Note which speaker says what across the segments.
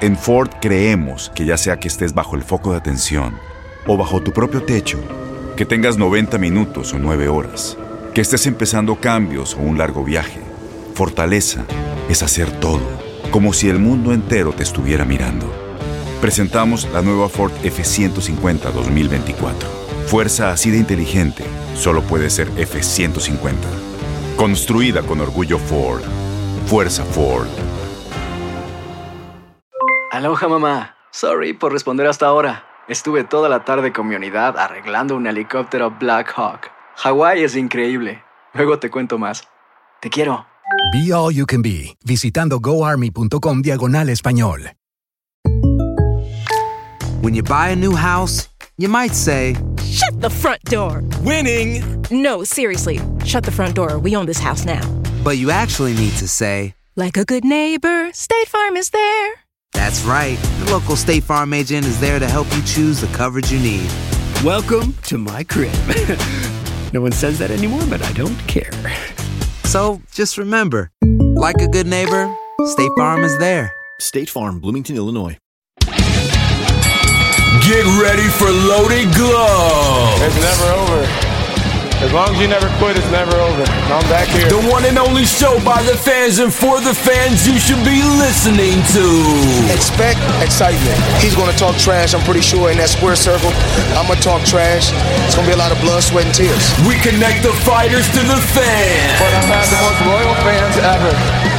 Speaker 1: En Ford creemos que ya sea que estés bajo el foco de atención o bajo tu propio techo, que tengas 90 minutos o 9 horas, que estés empezando cambios o un largo viaje, fortaleza es hacer todo, como si el mundo entero te estuviera mirando. Presentamos la nueva Ford F150 2024. Fuerza así de inteligente, solo puede ser F150. Construida con orgullo Ford. Fuerza Ford.
Speaker 2: Aloha mamá. Sorry por responder hasta ahora. Estuve toda la tarde con mi unidad arreglando un helicóptero Black Hawk. Hawái es increíble. Luego te cuento más. Te quiero.
Speaker 3: Be All You Can Be, visitando goarmy.com diagonal español.
Speaker 4: When you buy a new house, you might say,
Speaker 5: Shut the front door.
Speaker 4: Winning!
Speaker 5: No, seriously. Shut the front door. We own this house now.
Speaker 4: But you actually need to say,
Speaker 5: Like a good neighbor, State Farm is there.
Speaker 4: That's right. The local State Farm agent is there to help you choose the coverage you need.
Speaker 6: Welcome to my crib. no one says that anymore, but I don't care.
Speaker 4: So just remember like a good neighbor, State Farm is there.
Speaker 7: State Farm, Bloomington, Illinois.
Speaker 8: Get ready for Loaded Glow.
Speaker 9: It's never over. As long as you never quit, it's never over. I'm back here.
Speaker 8: The one and only show by the fans and for the fans you should be listening to.
Speaker 10: Expect excitement. He's going to talk trash, I'm pretty sure, in that square circle. I'm going to talk trash. It's going to be a lot of blood, sweat, and tears.
Speaker 8: We connect the fighters to the fans.
Speaker 9: But I've had the most loyal fans ever.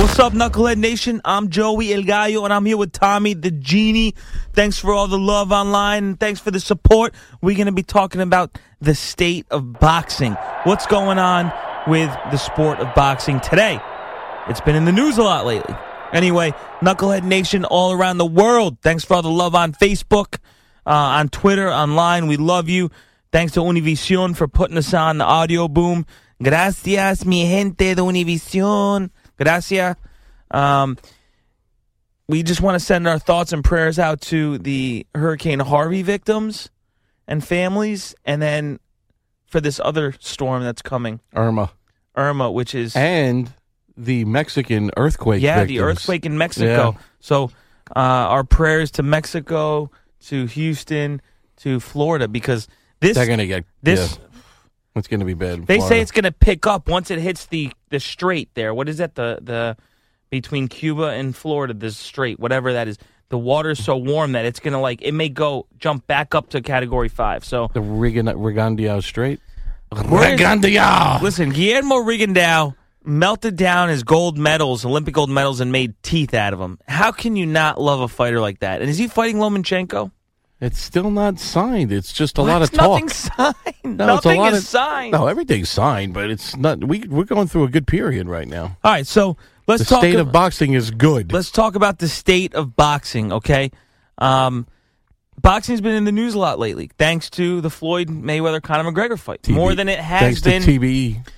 Speaker 11: What's up, Knucklehead Nation? I'm Joey El Gallo, and I'm here with Tommy the Genie. Thanks for all the love online, and thanks for the support. We're going to be talking about the state of boxing. What's going on with the sport of boxing today? It's been in the news a lot lately. Anyway, Knucklehead Nation all around the world, thanks for all the love on Facebook, uh, on Twitter, online. We love you. Thanks to Univision for putting us on the audio boom. Gracias, mi gente de Univision. Gracias. Um, we just want to send our thoughts and prayers out to the Hurricane Harvey victims and families, and then for this other storm that's coming,
Speaker 12: Irma,
Speaker 11: Irma, which is
Speaker 12: and the Mexican earthquake.
Speaker 11: Yeah,
Speaker 12: victims.
Speaker 11: the earthquake in Mexico. Yeah. So uh, our prayers to Mexico, to Houston, to Florida, because this
Speaker 12: they're gonna get
Speaker 11: this.
Speaker 12: Yeah. It's going to be bad.
Speaker 11: They say it's going to pick up once it hits the the strait there. What is that? The the between Cuba and Florida, the strait, whatever that is. The water's so warm that it's going to like it may go jump back up to category five. So
Speaker 12: the Rigan, Rigondeaux Strait.
Speaker 11: Rigondeaux. Listen, Guillermo Rigondeaux melted down his gold medals, Olympic gold medals, and made teeth out of them. How can you not love a fighter like that? And is he fighting Lomachenko?
Speaker 12: It's still not signed. It's just a
Speaker 11: well,
Speaker 12: lot of
Speaker 11: talk. Nothing
Speaker 12: signed.
Speaker 11: No, nothing is of, signed.
Speaker 12: No, everything's signed, but it's not. We we're going through a good period right now.
Speaker 11: All right, so let's
Speaker 12: the
Speaker 11: talk.
Speaker 12: state of, of boxing is good.
Speaker 11: Let's talk about the state of boxing. Okay, um, boxing's been in the news a lot lately, thanks to the Floyd Mayweather Conor McGregor fight,
Speaker 12: TV,
Speaker 11: more than it has
Speaker 12: thanks
Speaker 11: been.
Speaker 12: To TBE.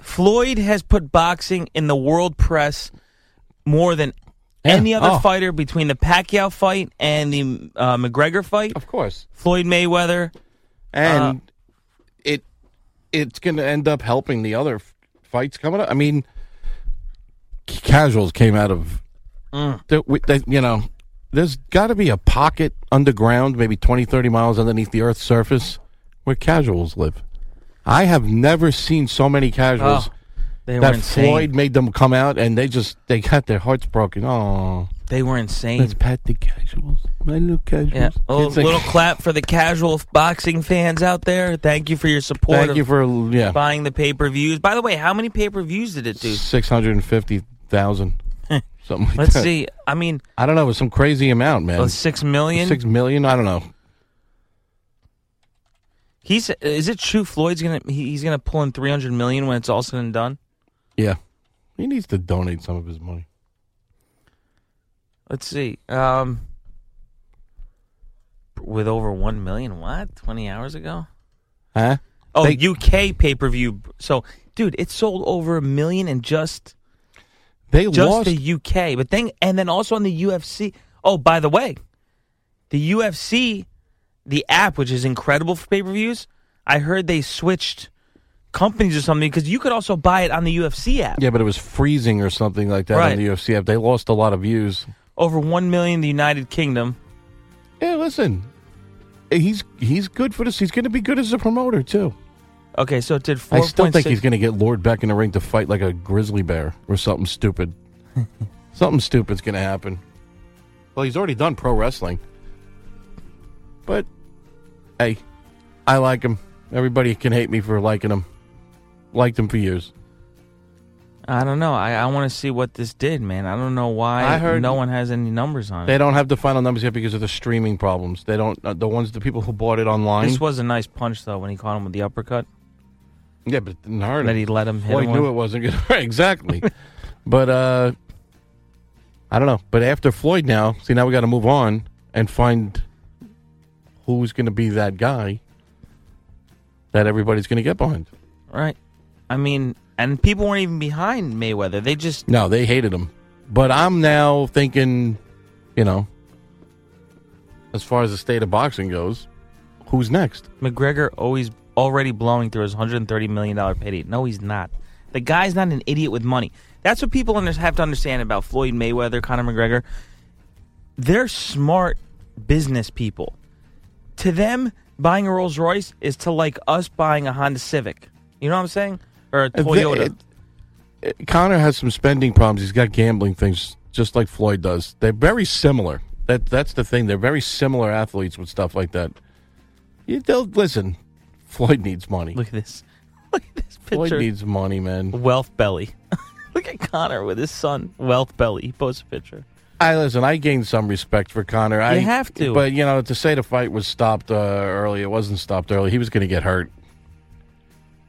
Speaker 11: Floyd has put boxing in the world press more than
Speaker 12: Yeah.
Speaker 11: any other
Speaker 12: Oh.
Speaker 11: fighter between the Pacquiao fight and the uh, McGregor fight,
Speaker 12: Of course,
Speaker 11: Floyd Mayweather. Uh,
Speaker 12: and it it's going to end up helping the other f- fights coming up. I mean, c- casuals came out of
Speaker 11: Mm.
Speaker 12: the, we- the- you know. There's got to be a pocket underground, maybe 20, 30 miles underneath the Earth's surface, where casuals live. I have never seen so many casuals
Speaker 11: Oh. They
Speaker 12: that
Speaker 11: were insane.
Speaker 12: Floyd made them come out, and they just they got their hearts broken. Oh,
Speaker 11: they were insane.
Speaker 12: Let's pat the casuals, my little casuals.
Speaker 11: Yeah. Oh,
Speaker 12: Kids like-
Speaker 11: little clap for the casual boxing fans out there. Thank you for your support.
Speaker 12: Thank
Speaker 11: of
Speaker 12: you for yeah
Speaker 11: buying the pay per views. By the way, how many pay per views did it do?
Speaker 12: six hundred and fifty thousand. Something like
Speaker 11: Let's
Speaker 12: that.
Speaker 11: see. I mean,
Speaker 12: I don't know. It was some crazy amount, man.
Speaker 11: Oh, six million?
Speaker 12: Six million. I don't know.
Speaker 11: he's is it true Floyd's gonna he- he's gonna pull in three hundred million when it's all said and done?
Speaker 12: Yeah, he needs to donate some of his money.
Speaker 11: Let's see. Um, with over one million, what twenty hours ago?
Speaker 12: Huh?
Speaker 11: Oh,
Speaker 12: They-
Speaker 11: UK pay per view. So, dude, it sold over a million in just
Speaker 12: they
Speaker 11: just
Speaker 12: lost-
Speaker 11: the UK, but then and then also on the UFC. Oh, by the way, the UFC, the app which is incredible for pay per views. I heard they switched companies or something because you could also buy it on the UFC app.
Speaker 12: Yeah, but it was freezing or something like that
Speaker 11: Right.
Speaker 12: on the UFC app. They lost a lot of views.
Speaker 11: Over one million in the United Kingdom.
Speaker 12: Yeah, listen, he's he's good for this. He's going to be good as a promoter too.
Speaker 11: Okay, so it did four.
Speaker 12: I still think he's going to get lured back in the ring to fight like a grizzly bear or something stupid. something stupid's going to happen. Well, he's already done pro wrestling. But hey, I like him. Everybody can hate me for liking him. Liked him for years.
Speaker 11: I don't know. I, I want to see what this did, man. I don't know why
Speaker 12: I heard-
Speaker 11: no one has any numbers on it.
Speaker 12: They don't have the final numbers yet because of the streaming problems. They don't uh, the ones the people who bought it online.
Speaker 11: This was a nice punch though when he caught him with the uppercut.
Speaker 12: Yeah, but it didn't hurt him.
Speaker 11: That he let him hit
Speaker 12: Floyd
Speaker 11: him
Speaker 12: knew
Speaker 11: with-
Speaker 12: it wasn't good. Right, exactly. but uh I don't know. But after Floyd now, see now we got to move on and find who's going to be that guy that everybody's going to get behind.
Speaker 11: Right. I mean, and people weren't even behind Mayweather. They just
Speaker 12: No, they hated him. But I'm now thinking, you know, as far as the state of boxing goes, who's next?
Speaker 11: McGregor always already blowing through his 130 million dollar payday. No, he's not. The guy's not an idiot with money. That's what people under- have to understand about Floyd Mayweather, Conor McGregor. They're smart business people. To them, buying a Rolls Royce is to like us buying a Honda Civic. You know what I'm saying? Or a
Speaker 12: They-
Speaker 11: Toyota.
Speaker 12: Connor has some spending problems. He's got gambling things, just like Floyd does. They're very similar. That that's the thing. They're very similar athletes with stuff like that. You don't listen. Floyd needs money. Look
Speaker 11: at this. Look at this
Speaker 12: Floyd
Speaker 11: picture.
Speaker 12: needs money, man.
Speaker 11: Wealth belly. Look at Connor with his son, Wealth Belly. He posts a picture.
Speaker 12: I listen. I gained some respect for Connor. I
Speaker 11: have to.
Speaker 12: but you know, to say the fight was stopped uh, early, it wasn't stopped early. He was going to get hurt.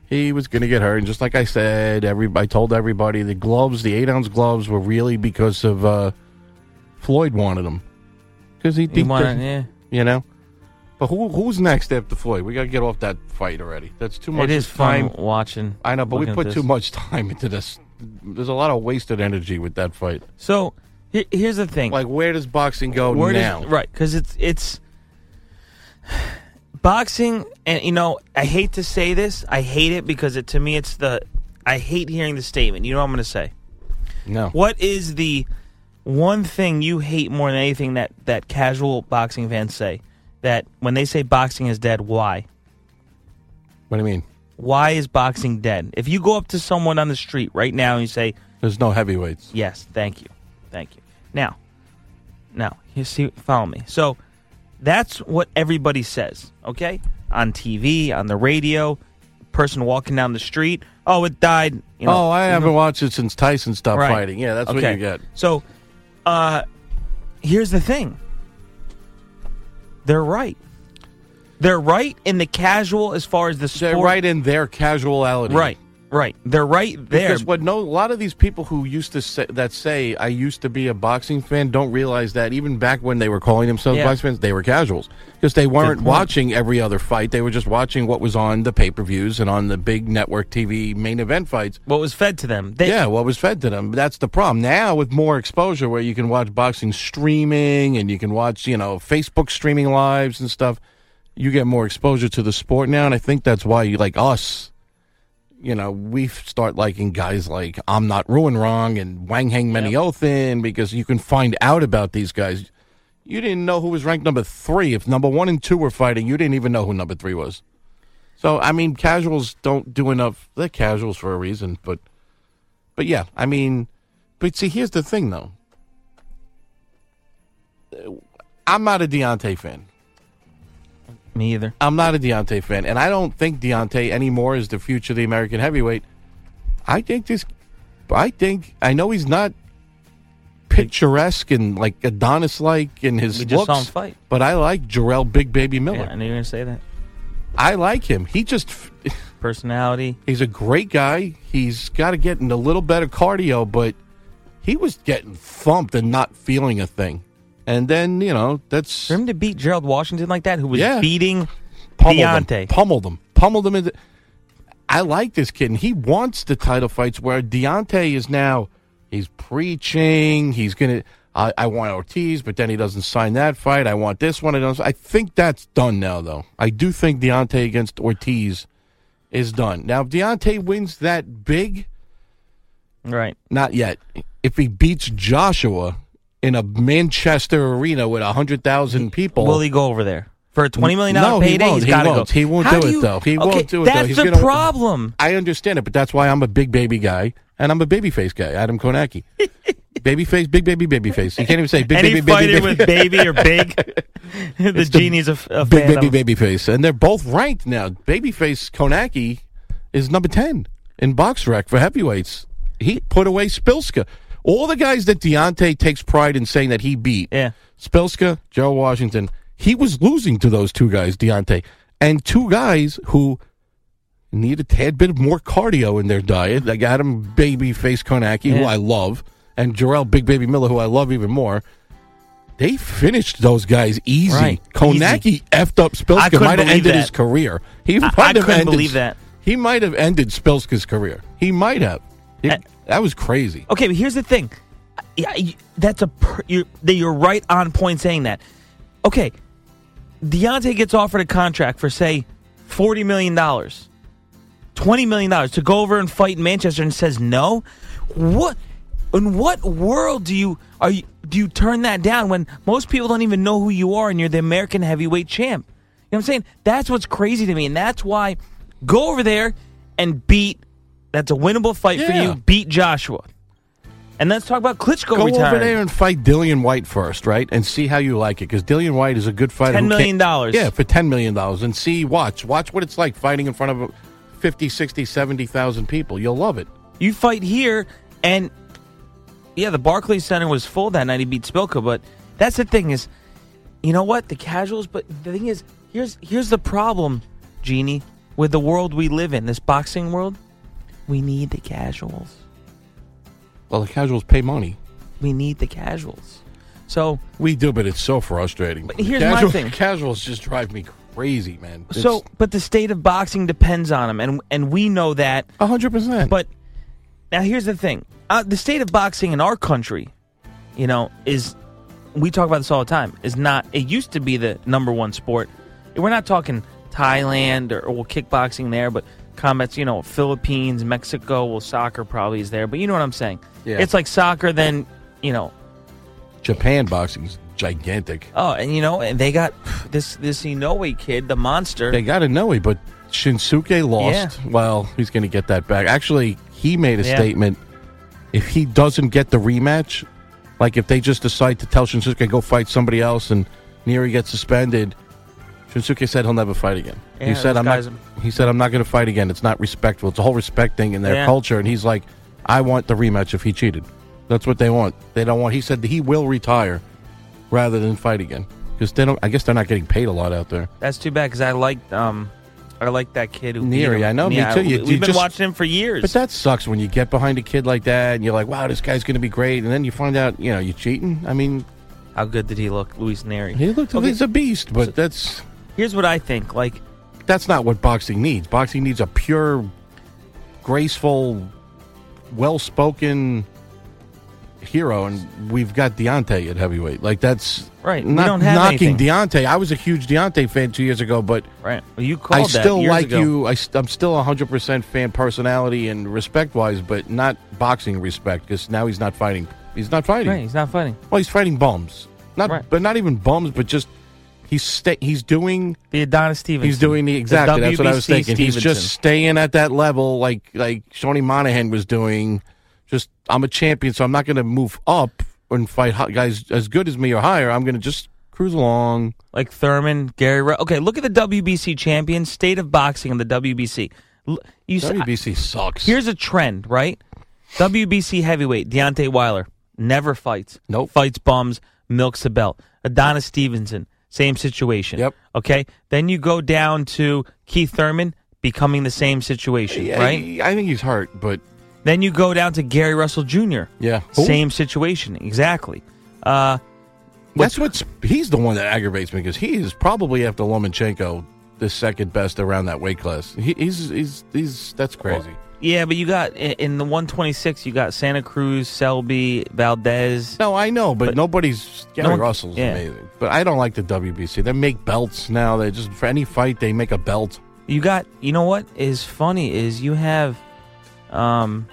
Speaker 12: He was going to get hurt, and just like I said, every I told everybody the gloves, the eight ounce gloves, were really because of uh, Floyd wanted them because he,
Speaker 11: He wanted- yeah.
Speaker 12: you know. But who who's next after Floyd? We got to get off that fight already. That's too much.
Speaker 11: It is
Speaker 12: time
Speaker 11: fun watching.
Speaker 12: I know, but we
Speaker 11: looking at
Speaker 12: put
Speaker 11: this.
Speaker 12: too much time into this. There's a lot of wasted energy with that fight.
Speaker 11: So he- here's the thing:
Speaker 12: like, where does boxing go
Speaker 11: Where does-
Speaker 12: now?
Speaker 11: right, because it's it's boxing, and you know, I hate to say this, I hate it because it to me it's the I hate hearing the statement. You know what I'm going to say?
Speaker 12: No.
Speaker 11: What is the one thing you hate more than anything that that casual boxing fans say? That when they say boxing is dead, why?
Speaker 12: What do you mean?
Speaker 11: Why is boxing dead? If you go up to someone on the street right now and you say,
Speaker 12: "There's no heavyweights."
Speaker 11: Yes, thank you, thank you. Now, now you see, follow me. So that's what everybody says, okay? On TV, on the radio, person walking down the street. Oh, it died. You know,
Speaker 12: oh, I
Speaker 11: you know,
Speaker 12: haven't watched it since Tyson stopped
Speaker 11: Right.
Speaker 12: fighting. Yeah, that's what
Speaker 11: Okay.
Speaker 12: you get.
Speaker 11: So, uh, here's the thing. They're right. They're right in the casual as far as the sport.
Speaker 12: They're right in their casuality.
Speaker 11: Right, right. They're right there.
Speaker 12: Because what no, a lot of these people who used to say, that say I used to be a boxing fan don't realize that even back when they were calling themselves
Speaker 11: Yeah.
Speaker 12: boxing fans, they were casuals because they weren't
Speaker 11: point.
Speaker 12: watching every other fight. They were just watching what was on the pay per views and on the big network TV main event fights.
Speaker 11: What was fed to them? They,
Speaker 12: yeah, what was fed to them. That's the problem. Now with more exposure, where you can watch boxing streaming and you can watch you know Facebook streaming lives and stuff, you get more exposure to the sport now, and I think that's why you like us you know, we f- start liking guys like I'm Not Ruin Wrong and Wang Hang Maniothin because you can find out about these guys. You didn't know who was ranked number three. If number one and two were fighting, you didn't even know who number three was. So, I mean, casuals don't do enough. They're casuals for a reason, but But yeah, I mean, but see, here's the thing though. I'm not a Deontay fan.
Speaker 11: Me either.
Speaker 12: I'm not a Deontay fan, and I don't think Deontay anymore is the future of the American heavyweight. I think this. I think I know he's not picturesque and like Adonis like in his
Speaker 11: We just
Speaker 12: looks.
Speaker 11: saw him fight.
Speaker 12: But I like Jarrell Big Baby Miller.
Speaker 11: Yeah, I knew you were gonna say that.
Speaker 12: I like him. He just
Speaker 11: personality.
Speaker 12: He's a great guy. He's got to get into a little better cardio, but he was getting thumped and not feeling a thing. And then you know that's for
Speaker 11: him to beat Gerald Washington like that, who was beating
Speaker 12: Him, pummeled him, pummeled him. Into, I like this kid, and he wants the title fights. Where Deontay is now, he's preaching. He's gonna. I, I want Ortiz, but then he doesn't sign that fight. I want this one. I don't. I think that's done now, though. I do think Deontay against Ortiz is done now. If Deontay wins that big,
Speaker 11: right?
Speaker 12: Not yet. If he beats Joshua in a Manchester arena with hundred thousand people,
Speaker 11: Will he go over there for a twenty million dollar
Speaker 12: no,
Speaker 11: payday?
Speaker 12: He won't.
Speaker 11: has
Speaker 12: He
Speaker 11: got to go.
Speaker 12: won't. He won't
Speaker 11: How
Speaker 12: do,
Speaker 11: you-
Speaker 12: it though. He
Speaker 11: okay,
Speaker 12: won't do it
Speaker 11: That's
Speaker 12: though. He's
Speaker 11: the
Speaker 12: gonna-
Speaker 11: problem.
Speaker 12: I understand it, but that's why I'm a big baby guy and I'm a baby face guy. Adam Konaki. baby face, big baby, baby face. You can't even say big
Speaker 11: Any
Speaker 12: baby,
Speaker 11: fighter
Speaker 12: baby, baby.
Speaker 11: with baby or big, the
Speaker 12: It's the
Speaker 11: genie's a, f- a
Speaker 12: big
Speaker 11: fan
Speaker 12: baby,
Speaker 11: of-
Speaker 12: baby face, and they're both ranked now. Babyface Konaki is number ten in box rec for heavyweights. He put away Spilska. All the guys that Deontay takes pride in saying that he beat.
Speaker 11: Yeah.
Speaker 12: Spilska, Joe Washington. He was losing to those two guys, Deontay, and two guys who need a tad bit more cardio in their diet. They got him Babyface Konaki, who
Speaker 11: Yeah.
Speaker 12: I love, and Jarrell Big Baby Miller, who I love even more. They finished those guys easy.
Speaker 11: Right,
Speaker 12: Konaki effed up
Speaker 11: I
Speaker 12: Spilska.
Speaker 11: couldn't
Speaker 12: Might have
Speaker 11: believe
Speaker 12: ended
Speaker 11: that.
Speaker 12: his career. He
Speaker 11: I-
Speaker 12: might
Speaker 11: I
Speaker 12: have
Speaker 11: couldn't
Speaker 12: ended,
Speaker 11: believe that.
Speaker 12: He might have ended Spilska's career. He might have. He- that was crazy.
Speaker 11: Okay, but here's the thing. Yeah, you- that's a per, you're, that you're right on point saying that. Okay, Deontay gets offered a contract for say forty million dollars, twenty million dollars to go over and fight in Manchester, and says no. What in what world do you are you do you turn that down when most people don't even know who you are and you're the American heavyweight champ? You know what I'm saying? That's what's crazy to me, and that's why go over there and beat. That's a winnable fight for
Speaker 12: Yeah.
Speaker 11: you. Beat Joshua. And let's talk about Klitschko
Speaker 12: Go
Speaker 11: retiring.
Speaker 12: over there and fight Dillian White first, right? And see how you like it because Dillian White is a good fighter.
Speaker 11: $10
Speaker 12: who can't-
Speaker 11: million.
Speaker 12: Yeah, for $10 million. And see, watch. Watch what it's like fighting in front of 50, 60, 70,000 people. You'll love it.
Speaker 11: You fight here, and yeah, the Barclays Center was full that night. He beat Spilka, but that's the thing is, you know what? The casuals. But the thing is, here's here's the problem, Genie, with the world we live in, this boxing world. We need the casuals.
Speaker 12: Well, the casuals pay money.
Speaker 11: We need the casuals. So
Speaker 12: we do, but it's so frustrating. But
Speaker 11: here's my
Speaker 12: casual,
Speaker 11: thing.
Speaker 12: Casuals just drive me crazy, man. It's-
Speaker 11: So, but the state of boxing depends on him, and and we know that
Speaker 12: hundred percent.
Speaker 11: But now here's the thing: uh, the state of boxing in our country, you know, is we talk about this all the time. Is not it used to be the number one sport. We're not talking Thailand or, or well, kickboxing there, but combats, you know, Philippines, Mexico. Well, soccer probably is there, but you know what I'm saying.
Speaker 12: Yeah.
Speaker 11: It's like soccer, then you know,
Speaker 12: Japan boxing's gigantic.
Speaker 11: oh, and you know, and they got this this Inoue kid, the monster.
Speaker 12: They got to know it, but Shinsuke lost. Well, he's going to get that back. Actually, he made a
Speaker 11: Yeah.
Speaker 12: statement. If he doesn't get the rematch, like if they just decide to tell Shinsuke go fight somebody else and Neri gets suspended, Shinsuke said he'll never fight again.
Speaker 11: Yeah,
Speaker 12: he said
Speaker 11: those
Speaker 12: I'm
Speaker 11: guys
Speaker 12: not.
Speaker 11: are-
Speaker 12: He said I'm not going to fight again. It's not respectful. It's a whole respect thing in their
Speaker 11: Yeah.
Speaker 12: culture. And he's like, I want the rematch if he cheated. That's what they want. They don't want. He said he will retire rather than fight again because they don't. I guess they're not getting paid a lot out there.
Speaker 11: That's too bad because I liked um, I liked that kid who beat
Speaker 12: Neary,
Speaker 11: him.
Speaker 12: I know, me
Speaker 11: Yeah,
Speaker 12: too.
Speaker 11: we-
Speaker 12: You-
Speaker 11: we've
Speaker 12: you
Speaker 11: been
Speaker 12: just-
Speaker 11: watching him for years.
Speaker 12: But that sucks when you get behind a kid like that and you're like, wow, this guy's going to be great. And then you find out, you know, you're cheating. I mean,
Speaker 11: How good did he look, Luis Neri?
Speaker 12: he looked
Speaker 11: Okay.
Speaker 12: he's a beast, but that's
Speaker 11: Here's what I think. Like,
Speaker 12: that's not what boxing needs. Boxing needs a pure, graceful, well spoken hero. And we've got Deontay at heavyweight. Like, that's
Speaker 11: Right, we
Speaker 12: Not
Speaker 11: don't have
Speaker 12: knocking
Speaker 11: anything.
Speaker 12: Deontay. I was a huge Deontay fan two years ago, but.
Speaker 11: right? Well, you
Speaker 12: I
Speaker 11: called that
Speaker 12: still
Speaker 11: years
Speaker 12: like
Speaker 11: ago.
Speaker 12: you. I st- I'm still 100% fan personality and respect wise, but not boxing respect because now he's not fighting. He's not fighting.
Speaker 11: Right, he's not fighting.
Speaker 12: Well, he's fighting bums. Not,
Speaker 11: Right.
Speaker 12: but not even bums. But just he's sta- he's doing
Speaker 11: the Adonis Stevenson.
Speaker 12: He's doing the
Speaker 11: The
Speaker 12: exactly. that's what I was
Speaker 11: WBC
Speaker 12: thinking. He's
Speaker 11: Stevenson.
Speaker 12: just staying at that level, like like Shawnee Monahan was doing. just I'm a champion, so I'm not going to move up and fight hot guys as good as me or higher. I'm going to just cruise along.
Speaker 11: Like Thurman, Gary. Ro- okay, look at the WBC champion, state of boxing in the WBC. L- You s-
Speaker 12: WBC sucks.
Speaker 11: Here's a trend, right? WBC heavyweight Deontay Wilder never fights. No fights bums, milks the belt. Adonis Stevenson, same situation. Yep. Okay. Then you go down to Keith Thurman, becoming the same situation,
Speaker 12: Yeah,
Speaker 11: right?
Speaker 12: I think he's hurt, but
Speaker 11: Then you go down to Gary Russell Jr.
Speaker 12: Yeah.
Speaker 11: Same situation, exactly. Uh,
Speaker 12: That's what's he's the one that aggravates me because he is probably after Lomachenko the second best around that weight class. He, he's he's he's that's crazy.
Speaker 11: Yeah, but you got i- in the 126, you got Santa Cruz, Selby, Valdez.
Speaker 12: No, I know, but, nobody's Gary
Speaker 11: No one-
Speaker 12: Russell's
Speaker 11: yeah.
Speaker 12: amazing, but I don't like the WBC. They make belts now. They just for any fight they make a belt.
Speaker 11: You got you know what is funny is you have um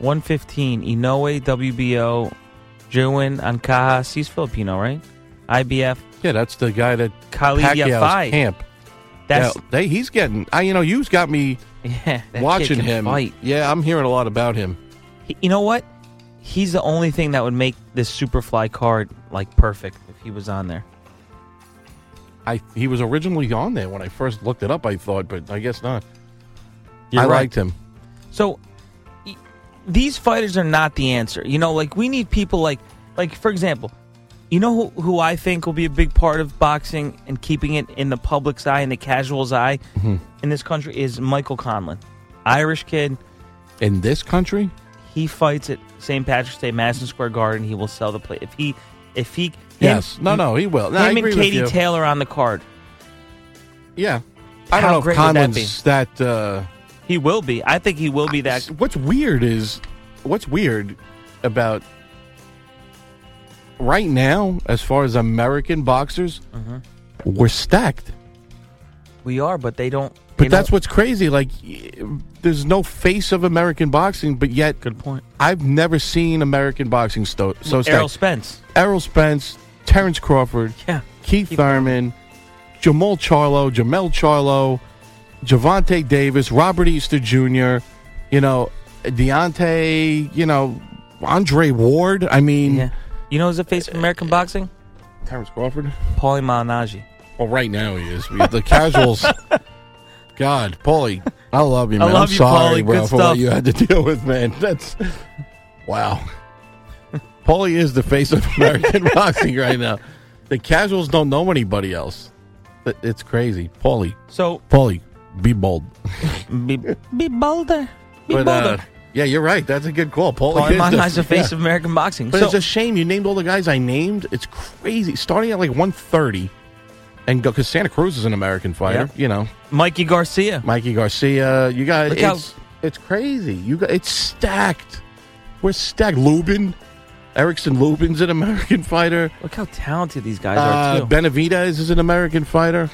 Speaker 11: 115 Inoue, WBO, Jewin, Ancajas. He's Filipino, right? IBF.
Speaker 12: Yeah, that's the guy that
Speaker 11: Khalid
Speaker 12: Pacquiao's
Speaker 11: Yafai.
Speaker 12: camp.
Speaker 11: That's
Speaker 12: Yeah, they, he's getting. I you know you've got me
Speaker 11: yeah, that kid
Speaker 12: watching
Speaker 11: can
Speaker 12: him.
Speaker 11: fight.
Speaker 12: Yeah, I'm hearing a lot about him.
Speaker 11: He- you know what? He's the only thing that would make this Superfly card like perfect if he was on there.
Speaker 12: I he was originally on there when I first looked it up. I thought, but I guess not.
Speaker 11: You're
Speaker 12: I
Speaker 11: right.
Speaker 12: liked him.
Speaker 11: So y- these fighters are not the answer. You know, like we need people like like for example, you know who, who I think will be a big part of boxing and keeping it in the public's eye and the casual's eye
Speaker 12: Mm-hmm.
Speaker 11: in this country is Michael Conlon. Irish kid.
Speaker 12: In this country?
Speaker 11: He fights at St. Patrick's Day, Madison Square Garden. He will sell the play if he if he him-
Speaker 12: Yes. No, no, he will. No, I
Speaker 11: him
Speaker 12: agree
Speaker 11: and
Speaker 12: with
Speaker 11: Katie
Speaker 12: you.
Speaker 11: Taylor on the card.
Speaker 12: Yeah.
Speaker 11: How
Speaker 12: I don't know if
Speaker 11: great would that
Speaker 12: Conlon's that. uh,
Speaker 11: He will be. I think he will be that.
Speaker 12: What's weird is what's weird about right now, as far as American boxers,
Speaker 11: Mhm.
Speaker 12: we're stacked.
Speaker 11: We are, but they don't.
Speaker 12: But
Speaker 11: they
Speaker 12: that's
Speaker 11: don't-
Speaker 12: what's crazy. Like, y- there's no face of American boxing, but yet,
Speaker 11: good point.
Speaker 12: I've never seen American boxing sto- so stacked.
Speaker 11: Errol Spence.
Speaker 12: Errol Spence, Terrence Crawford,
Speaker 11: Yeah.
Speaker 12: Keith Thurman, Jamal Charlo, Jamel Charlo, Javante Davis, Robert Easter Jr., you know, Deontay, you know, Andre Ward. I mean,
Speaker 11: You know who's the face of American boxing?
Speaker 12: Terrence Crawford.
Speaker 11: Paulie Malignaggi.
Speaker 12: Well, right now he is. We- The casuals. God, Paulie, I love you,
Speaker 11: I
Speaker 12: man.
Speaker 11: love
Speaker 12: am
Speaker 11: you,
Speaker 12: sorry,
Speaker 11: Paulie.
Speaker 12: bro,
Speaker 11: Good
Speaker 12: for
Speaker 11: stuff.
Speaker 12: what you had to deal with, man. That's wow. Paulie is the face of American boxing right now. The casuals don't know anybody else. But It's crazy, Paulie.
Speaker 11: So
Speaker 12: Paulie, be bold.
Speaker 11: be, be bolder. Be
Speaker 12: But, uh,
Speaker 11: bolder.
Speaker 12: yeah, you're right. That's a good call, Paulie.
Speaker 11: Paulie
Speaker 12: is
Speaker 11: Malignaggi's the face
Speaker 12: yeah.
Speaker 11: of American boxing.
Speaker 12: But
Speaker 11: so,
Speaker 12: it's a shame you named all the guys I named. It's crazy. Starting at like 130 and go because Santa Cruz is an American fighter, you know.
Speaker 11: Mikey Garcia.
Speaker 12: Mikey Garcia, you got
Speaker 11: Look
Speaker 12: it's it's crazy. You got it's stacked. We're stacked. Lubin, Erickson Lubin's an American fighter.
Speaker 11: Look how talented these guys are
Speaker 12: Uh,
Speaker 11: too.
Speaker 12: Benavidez is an American fighter.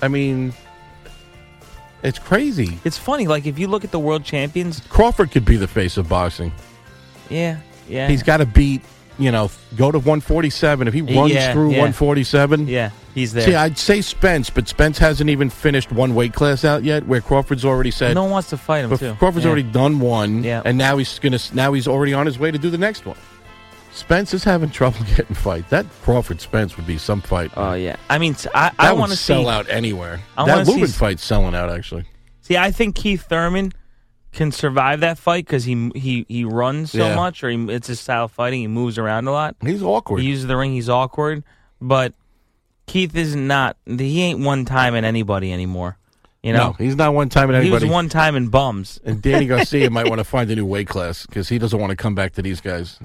Speaker 12: I mean, it's crazy.
Speaker 11: it's funny, like if you look at the world champions,
Speaker 12: Crawford could be the face of boxing.
Speaker 11: yeah, yeah,
Speaker 12: He's got to beat, you know, go to 147. If he runs
Speaker 11: Yeah,
Speaker 12: through
Speaker 11: yeah.
Speaker 12: 147,
Speaker 11: yeah, he's there.
Speaker 12: See, I'd say Spence, but Spence hasn't even finished one weight class out yet. Where Crawford's already said
Speaker 11: no one wants to fight him
Speaker 12: But
Speaker 11: too.
Speaker 12: Crawford's
Speaker 11: Yeah.
Speaker 12: already done one,
Speaker 11: Yeah.
Speaker 12: and now he's gonna. Now he's already on his way to do the next one. Spence is having trouble getting fight. That Crawford Spence would be some fight.
Speaker 11: Oh yeah, I mean, s- I, I
Speaker 12: That would
Speaker 11: want to
Speaker 12: sell
Speaker 11: see,
Speaker 12: out anywhere.
Speaker 11: I wanna
Speaker 12: that
Speaker 11: see
Speaker 12: Lubin
Speaker 11: s-
Speaker 12: fight's selling out actually.
Speaker 11: See, I think Keith Thurman can survive that fight because he he he runs so
Speaker 12: Yeah.
Speaker 11: much, or he, it's his style of fighting. He moves around a lot.
Speaker 12: He's awkward.
Speaker 11: He uses the ring. He's awkward, but Keith is not. He ain't one time in anybody anymore. You
Speaker 12: no,
Speaker 11: know,
Speaker 12: he's not one time at
Speaker 11: he was
Speaker 12: anybody.
Speaker 11: one time in bums.
Speaker 12: and Danny Garcia might want to find a new weight class because he doesn't want to come back to these guys.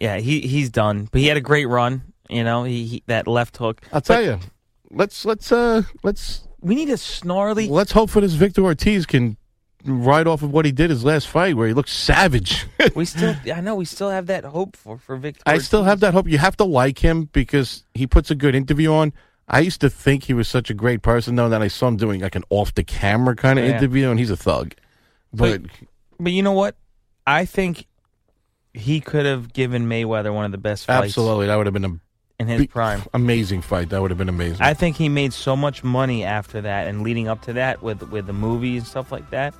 Speaker 11: Yeah, he he's done. But he had a great run. You know, he, he that left hook.
Speaker 12: I'll tell you. Let's let's uh let's
Speaker 11: We need a snarly.
Speaker 12: let's hope for this Victor Ortiz can ride off of what he did his last fight where he looked savage.
Speaker 11: We still, I know, we still have that hope for for Victor.
Speaker 12: I still have that hope. You have to like him because he puts a good interview on. I used to think he was such a great person, though. and Then I saw him doing like an off the camera kind of
Speaker 11: Yeah.
Speaker 12: interview, and he's a thug. But,
Speaker 11: But- But you know what? I think he could have given Mayweather one of the best fights
Speaker 12: absolutely, that would have been a
Speaker 11: in his
Speaker 12: be-
Speaker 11: prime.
Speaker 12: amazing fight. That would have been amazing.
Speaker 11: I think he made so much money after that and leading up to that with with the movies and stuff like that.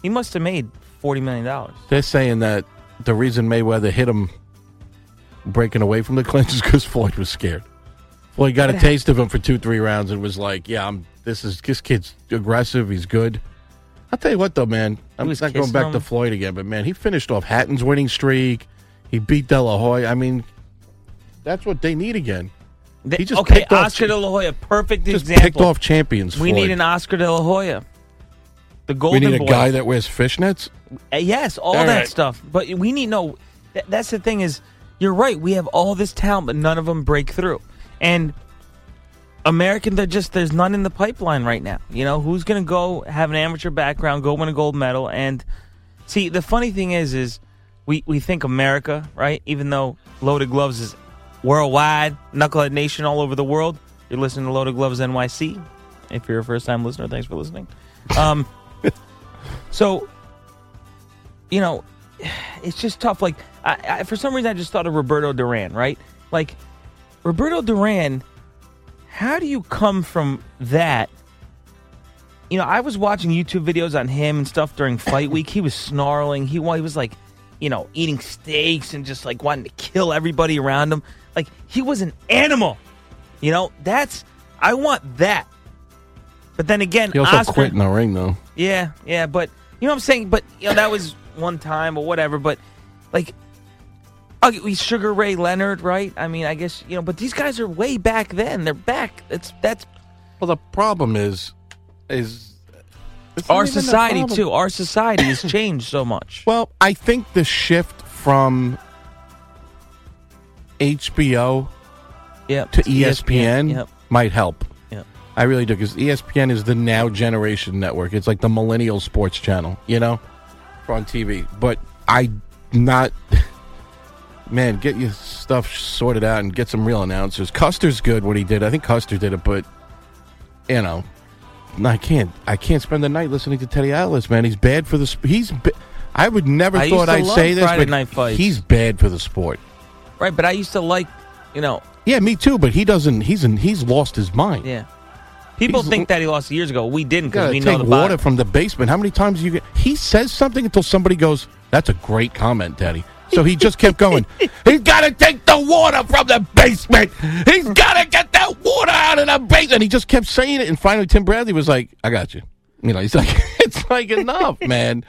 Speaker 11: He must have made forty million dollars.
Speaker 12: They're saying that the reason Mayweather hit him breaking away from the clinch is because Floyd was scared. Floyd got a taste of him for two, three rounds and was like, "Yeah, I'm. This is this kid's aggressive. He's good." I'll tell you what, though, man. I'm
Speaker 11: was
Speaker 12: not going
Speaker 11: kissing
Speaker 12: back to
Speaker 11: him.
Speaker 12: Floyd again, but man, he finished off Hatton's winning streak. He beat De La Hoya. I mean, that's what they need again. he just
Speaker 11: okay,
Speaker 12: picked off,
Speaker 11: Oscar De La Hoya, perfect
Speaker 12: just
Speaker 11: example.
Speaker 12: picked off champions.
Speaker 11: We
Speaker 12: Floyd.
Speaker 11: need an Oscar De La Hoya. The
Speaker 12: we
Speaker 11: Golden
Speaker 12: need a
Speaker 11: Boy.
Speaker 12: guy that wears fishnets.
Speaker 11: Uh, yes, all,
Speaker 12: All
Speaker 11: that
Speaker 12: right.
Speaker 11: stuff. But we need no. That, that's the thing is, you're right. We have all this talent, but none of them break through. And American, they're just there's none in the pipeline right now. You know who's going to go have an amateur background, go win a gold medal, and see the funny thing is, is we we think America, right? Even though Loaded Gloves is worldwide, Knucklehead Nation all over the world. You're listening to Loaded Gloves NYC. If you're a first time listener, thanks for listening. Um, so you know, it's just tough. Like, I, I, for some reason, I just thought of Roberto Duran, right? Like, Roberto Duran, how do you come from that? You know, I was watching YouTube videos on him and stuff during fight week. He was snarling. He, wa- he was like, you know, eating steaks and just like wanting to kill everybody around him. Like, he was an animal. You know, that's, I want that. But then again,
Speaker 12: He also
Speaker 11: Oscar,
Speaker 12: quit in the ring, though.
Speaker 11: yeah, yeah, but you know what I'm saying. But you know that was one time or whatever. But like, okay, we Sugar Ray Leonard, right? I mean, I guess you know. But these guys are way back then. They're back. It's that's
Speaker 12: Well, the problem is, is
Speaker 11: our
Speaker 12: not even a
Speaker 11: society
Speaker 12: problem.
Speaker 11: too. Our society has changed so much.
Speaker 12: Well, I think the shift from HBO
Speaker 11: Yep,
Speaker 12: to E
Speaker 11: it's ESPN,
Speaker 12: ESPN,
Speaker 11: yep.
Speaker 12: might help.
Speaker 11: Yep.
Speaker 12: I really do E because ESPN is the now generation network. It's like the millennial sports channel, you know, on TV. But I not man, get your stuff sorted out and get some real announcers. Custer's good what he did. I think Custer did it, but you know, I can't. I can't spend the night listening to Teddy Atlas. Man, he's bad for the. sp- He's. ba- I would never
Speaker 11: I used
Speaker 12: thought
Speaker 11: to
Speaker 12: I'd
Speaker 11: love
Speaker 12: say this,
Speaker 11: Friday
Speaker 12: but
Speaker 11: night fights.
Speaker 12: he's bad for the sport.
Speaker 11: right? But I used to like, you know,
Speaker 12: Yeah, me too. But he doesn't. He's in, he's lost his mind.
Speaker 11: yeah. People
Speaker 12: He's-
Speaker 11: think that he lost years ago. We didn't because
Speaker 12: gotta
Speaker 11: we know
Speaker 12: take
Speaker 11: the
Speaker 12: water
Speaker 11: bottom.
Speaker 12: from the basement. How many times you get? He says something until somebody goes, "That's a great comment, Daddy." So he just kept going. He's got to take the water from the basement. He's got to get that water out of the basement. And he just kept saying it, and finally Tim Bradley was like, "I got you." You know, he's like, "It's like enough, man."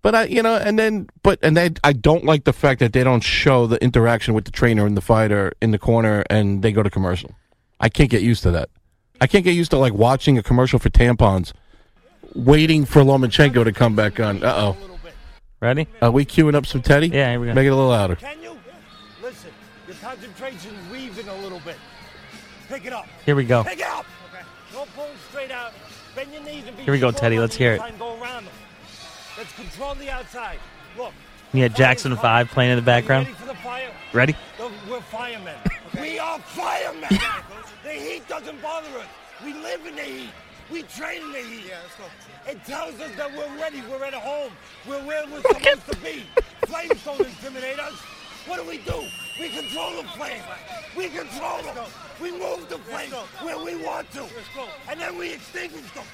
Speaker 12: But I, you know, and then, but and they, I don't like the fact that they don't show the interaction with the trainer and the fighter in the corner, and they go to commercial. I can't get used to that. I can't get used to like watching a commercial for tampons waiting for Lomachenko to come back on. Uh oh.
Speaker 11: Ready?
Speaker 12: Are we queuing up some Teddy?
Speaker 11: Yeah, here we go.
Speaker 12: Make it a little louder.
Speaker 13: Can you? Listen, your concentration's weaving a little bit. Pick it up.
Speaker 11: Here we go.
Speaker 13: Pick it up. Don't pull straight out. Bend your knees and be
Speaker 11: Here we go,
Speaker 13: controlled
Speaker 11: Teddy,
Speaker 13: on
Speaker 11: let's
Speaker 13: the
Speaker 11: hear it.
Speaker 13: inside and Go around them. Let's control the outside. Look,
Speaker 11: You had Jackson Five playing in the background.
Speaker 13: ready for the fire?
Speaker 11: Ready?
Speaker 13: Look, we're firemen. We are firemen. the heat doesn't bother us. We live in the heat. We train in the heat. It tells us that we're ready. We're at home. We're where we're supposed to be. Flames don't intimidate us. What do we do? We control the flame. We control them. We move the flame where we want to. And then we extinguish them.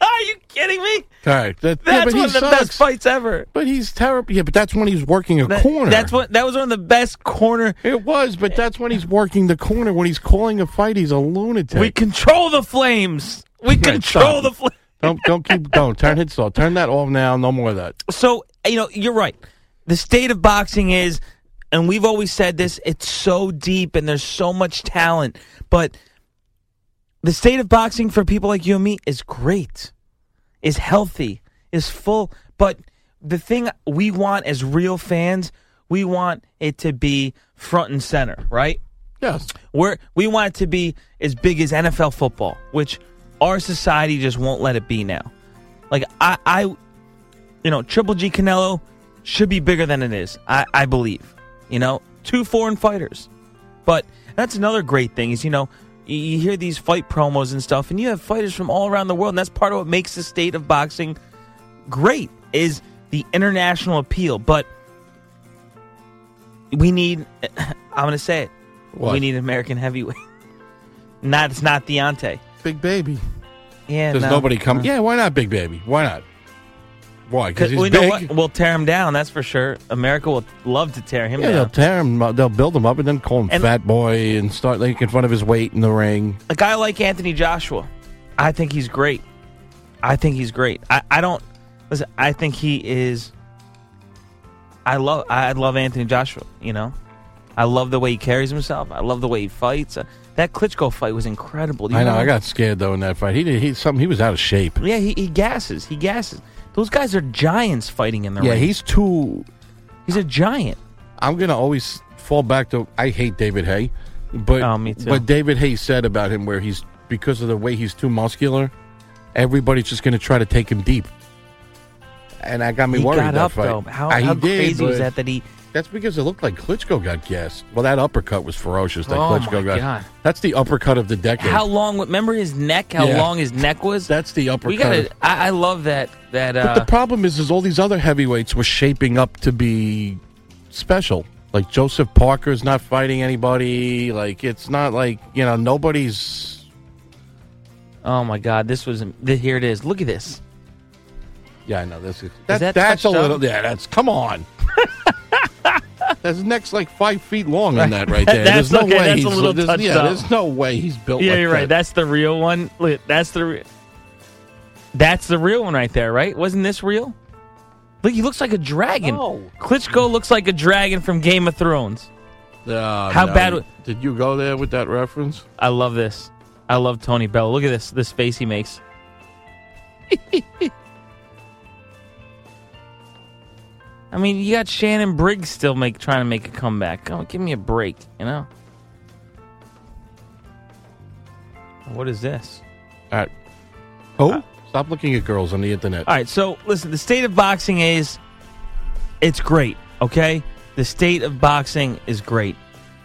Speaker 11: Are you kidding me?
Speaker 12: All right. That, yeah,
Speaker 11: That's
Speaker 12: but he
Speaker 11: one of the
Speaker 12: sucks.
Speaker 11: best fights ever.
Speaker 12: But he's terrible. Yeah, but that's when he's working a
Speaker 11: That-
Speaker 12: corner.
Speaker 11: That's Eh. what. That was one of the best corner.
Speaker 12: it was, but that's when he's working the corner. When he's calling a fight, he's a lunatic.
Speaker 11: We control the flames. We
Speaker 12: Yeah,
Speaker 11: control
Speaker 12: stop.
Speaker 11: the flames.
Speaker 12: don't don't keep going. Turn it slow. Turn that off now. No more of that.
Speaker 11: So you know, you're right. The state of boxing is, and we've always said this. It's so deep, and there's so much talent. But the state of boxing for people like you and me is great, is healthy, is full. But the thing we want as real fans, we want it to be front and center, right?
Speaker 12: Yes.
Speaker 11: We're, we want it to be as big as NFL football, which our society just won't let it be now. Like I, I you know, Triple G Canelo should be bigger than it is. I, I believe. You know, two foreign fighters. But that's another great thing is you know you- you hear these fight promos and stuff, and you have fighters from all around the world, and that's part of what makes the state of boxing great is the international appeal. But we need, I'm going to say it,
Speaker 12: What?
Speaker 11: we need an American heavyweight. Not it's not Deontay.
Speaker 12: Big baby.
Speaker 11: Yeah,
Speaker 12: There's
Speaker 11: no.
Speaker 12: nobody coming.
Speaker 11: No.
Speaker 12: Yeah, why not, Big baby? Why not? Why? Because he's
Speaker 11: we know
Speaker 12: big.
Speaker 11: what? We'll tear him down. That's for sure. America will love to tear him
Speaker 12: Yeah, they'll
Speaker 11: down.
Speaker 12: tear him. up- They'll build him up and then call him
Speaker 11: And-
Speaker 12: fat boy and start making fun of his weight in the ring.
Speaker 11: A guy like Anthony Joshua, I think he's great. I think he's great. I, I don't listen. I think he is. I love. I love Anthony Joshua. You know, I love the way he carries himself. I love the way he fights. Uh, that Klitschko fight was incredible. Do you
Speaker 12: I know. I
Speaker 11: remember?
Speaker 12: got scared though in that fight. He did. He something. He was out of shape.
Speaker 11: Yeah, he, he gasses. He gasses. Those guys are giants fighting in the
Speaker 12: yeah,
Speaker 11: ring.
Speaker 12: he's too.
Speaker 11: He's a giant.
Speaker 12: I'm gonna always fall back to. I hate David Hay, but
Speaker 11: Oh, me too.
Speaker 12: but David Hay said about him where he's because of the way he's too muscular, everybody's just gonna try to take him deep. And that got me
Speaker 11: He
Speaker 12: worried.
Speaker 11: got
Speaker 12: that
Speaker 11: up
Speaker 12: fight.
Speaker 11: though. How,
Speaker 12: Uh, he
Speaker 11: how
Speaker 12: did,
Speaker 11: crazy was
Speaker 12: but-
Speaker 11: that? That he
Speaker 12: That's because it looked like Klitschko got gassed. Well, that uppercut was ferocious. That
Speaker 11: Oh,
Speaker 12: Klitschko
Speaker 11: my
Speaker 12: got.
Speaker 11: God.
Speaker 12: That's the uppercut of the decade.
Speaker 11: How long? Remember his neck? How
Speaker 12: Yeah.
Speaker 11: long his neck was?
Speaker 12: That's the uppercut.
Speaker 11: We gotta. I, I love that. That.
Speaker 12: but
Speaker 11: Uh,
Speaker 12: the problem is, is all these other heavyweights were shaping up to be special. Like Joseph Parker's not fighting anybody. Like it's not like you know nobody's.
Speaker 11: oh my God! This was. th- Here it is. Look at this.
Speaker 12: Yeah, I know this is.
Speaker 11: Is
Speaker 12: That,
Speaker 11: that
Speaker 12: that's a
Speaker 11: touched up?
Speaker 12: little. Yeah, that's come on. His neck's like five feet long on that right there.
Speaker 11: That's
Speaker 12: there's no
Speaker 11: okay,
Speaker 12: way
Speaker 11: that's a
Speaker 12: he's
Speaker 11: little
Speaker 12: there's, yeah,
Speaker 11: touched up.
Speaker 12: there's no way he's built.
Speaker 11: yeah,
Speaker 12: like
Speaker 11: you're right.
Speaker 12: that.
Speaker 11: That's the real one. Look, that's the. Re- that's the real one right there, right? Wasn't this real? Oh. Look, he looks like a dragon.
Speaker 12: No.
Speaker 11: Klitschko looks like a dragon from Game of Thrones.
Speaker 12: Uh,
Speaker 11: How
Speaker 12: no.
Speaker 11: bad w-
Speaker 12: did you go there with that reference?
Speaker 11: I love this. I love Tony Bell. Look at this. This face he makes. I mean, you got Shannon Briggs still make trying to make a comeback. Come on, give me a break, you know. What is this?
Speaker 12: All right. Oh, stop looking at girls on the internet.
Speaker 11: All right, so listen, the state of boxing is it's great, okay? The state of boxing is great.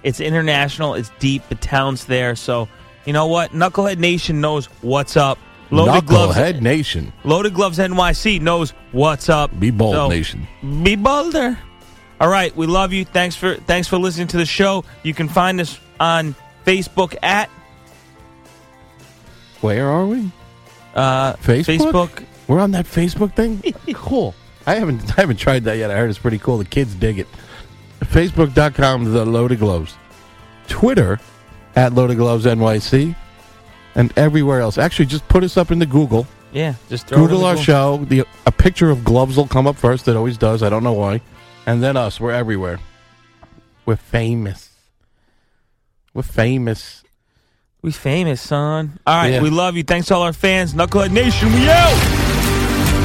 Speaker 11: It's international, it's deep, the town's there, so you know what? Knucklehead Nation knows what's up. Loaded gloves
Speaker 12: Knucklehead Nation.
Speaker 11: Loaded Gloves NYC knows what's up.
Speaker 12: Be bold, nation.
Speaker 11: Be bolder. All right, we love you. Thanks for thanks for listening to the show. You can find us on Facebook at
Speaker 12: Where are we?
Speaker 11: uh,
Speaker 12: Facebook?
Speaker 11: Facebook.
Speaker 12: We're on that Facebook thing? cool. I haven't I haven't tried that yet. I heard it's pretty cool. The kids dig it. Facebook.com the Loaded Gloves. Twitter at Loaded Gloves NYC. And everywhere else. Actually just put us up into Google.
Speaker 11: Yeah, just throw it in
Speaker 12: Google
Speaker 11: the
Speaker 12: our
Speaker 11: Google.
Speaker 12: show. The a picture of gloves will come up first. It always does. I don't know why. And then us. We're everywhere. We're famous. We're famous.
Speaker 11: We famous, son. All right,
Speaker 12: Yeah.
Speaker 11: we love you. Thanks to all our fans. Knucklehead Nation, we out.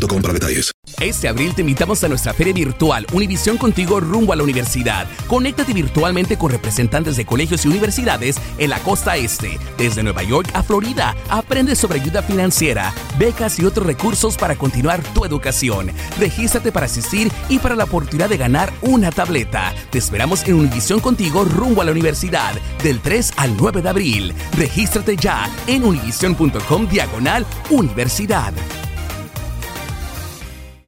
Speaker 14: para detalles.
Speaker 15: Este abril te invitamos a nuestra feria virtual Univisión Contigo rumbo a la universidad. Conéctate virtualmente con representantes de colegios y universidades en la costa este, desde Nueva York a Florida. Aprende sobre ayuda financiera, becas y otros recursos para continuar tu educación. Regístrate para asistir y para la oportunidad de ganar una tableta. Te esperamos en Univisión Contigo rumbo a la universidad del 3 al 9 de abril. Regístrate ya en univision.com diagonal universidad.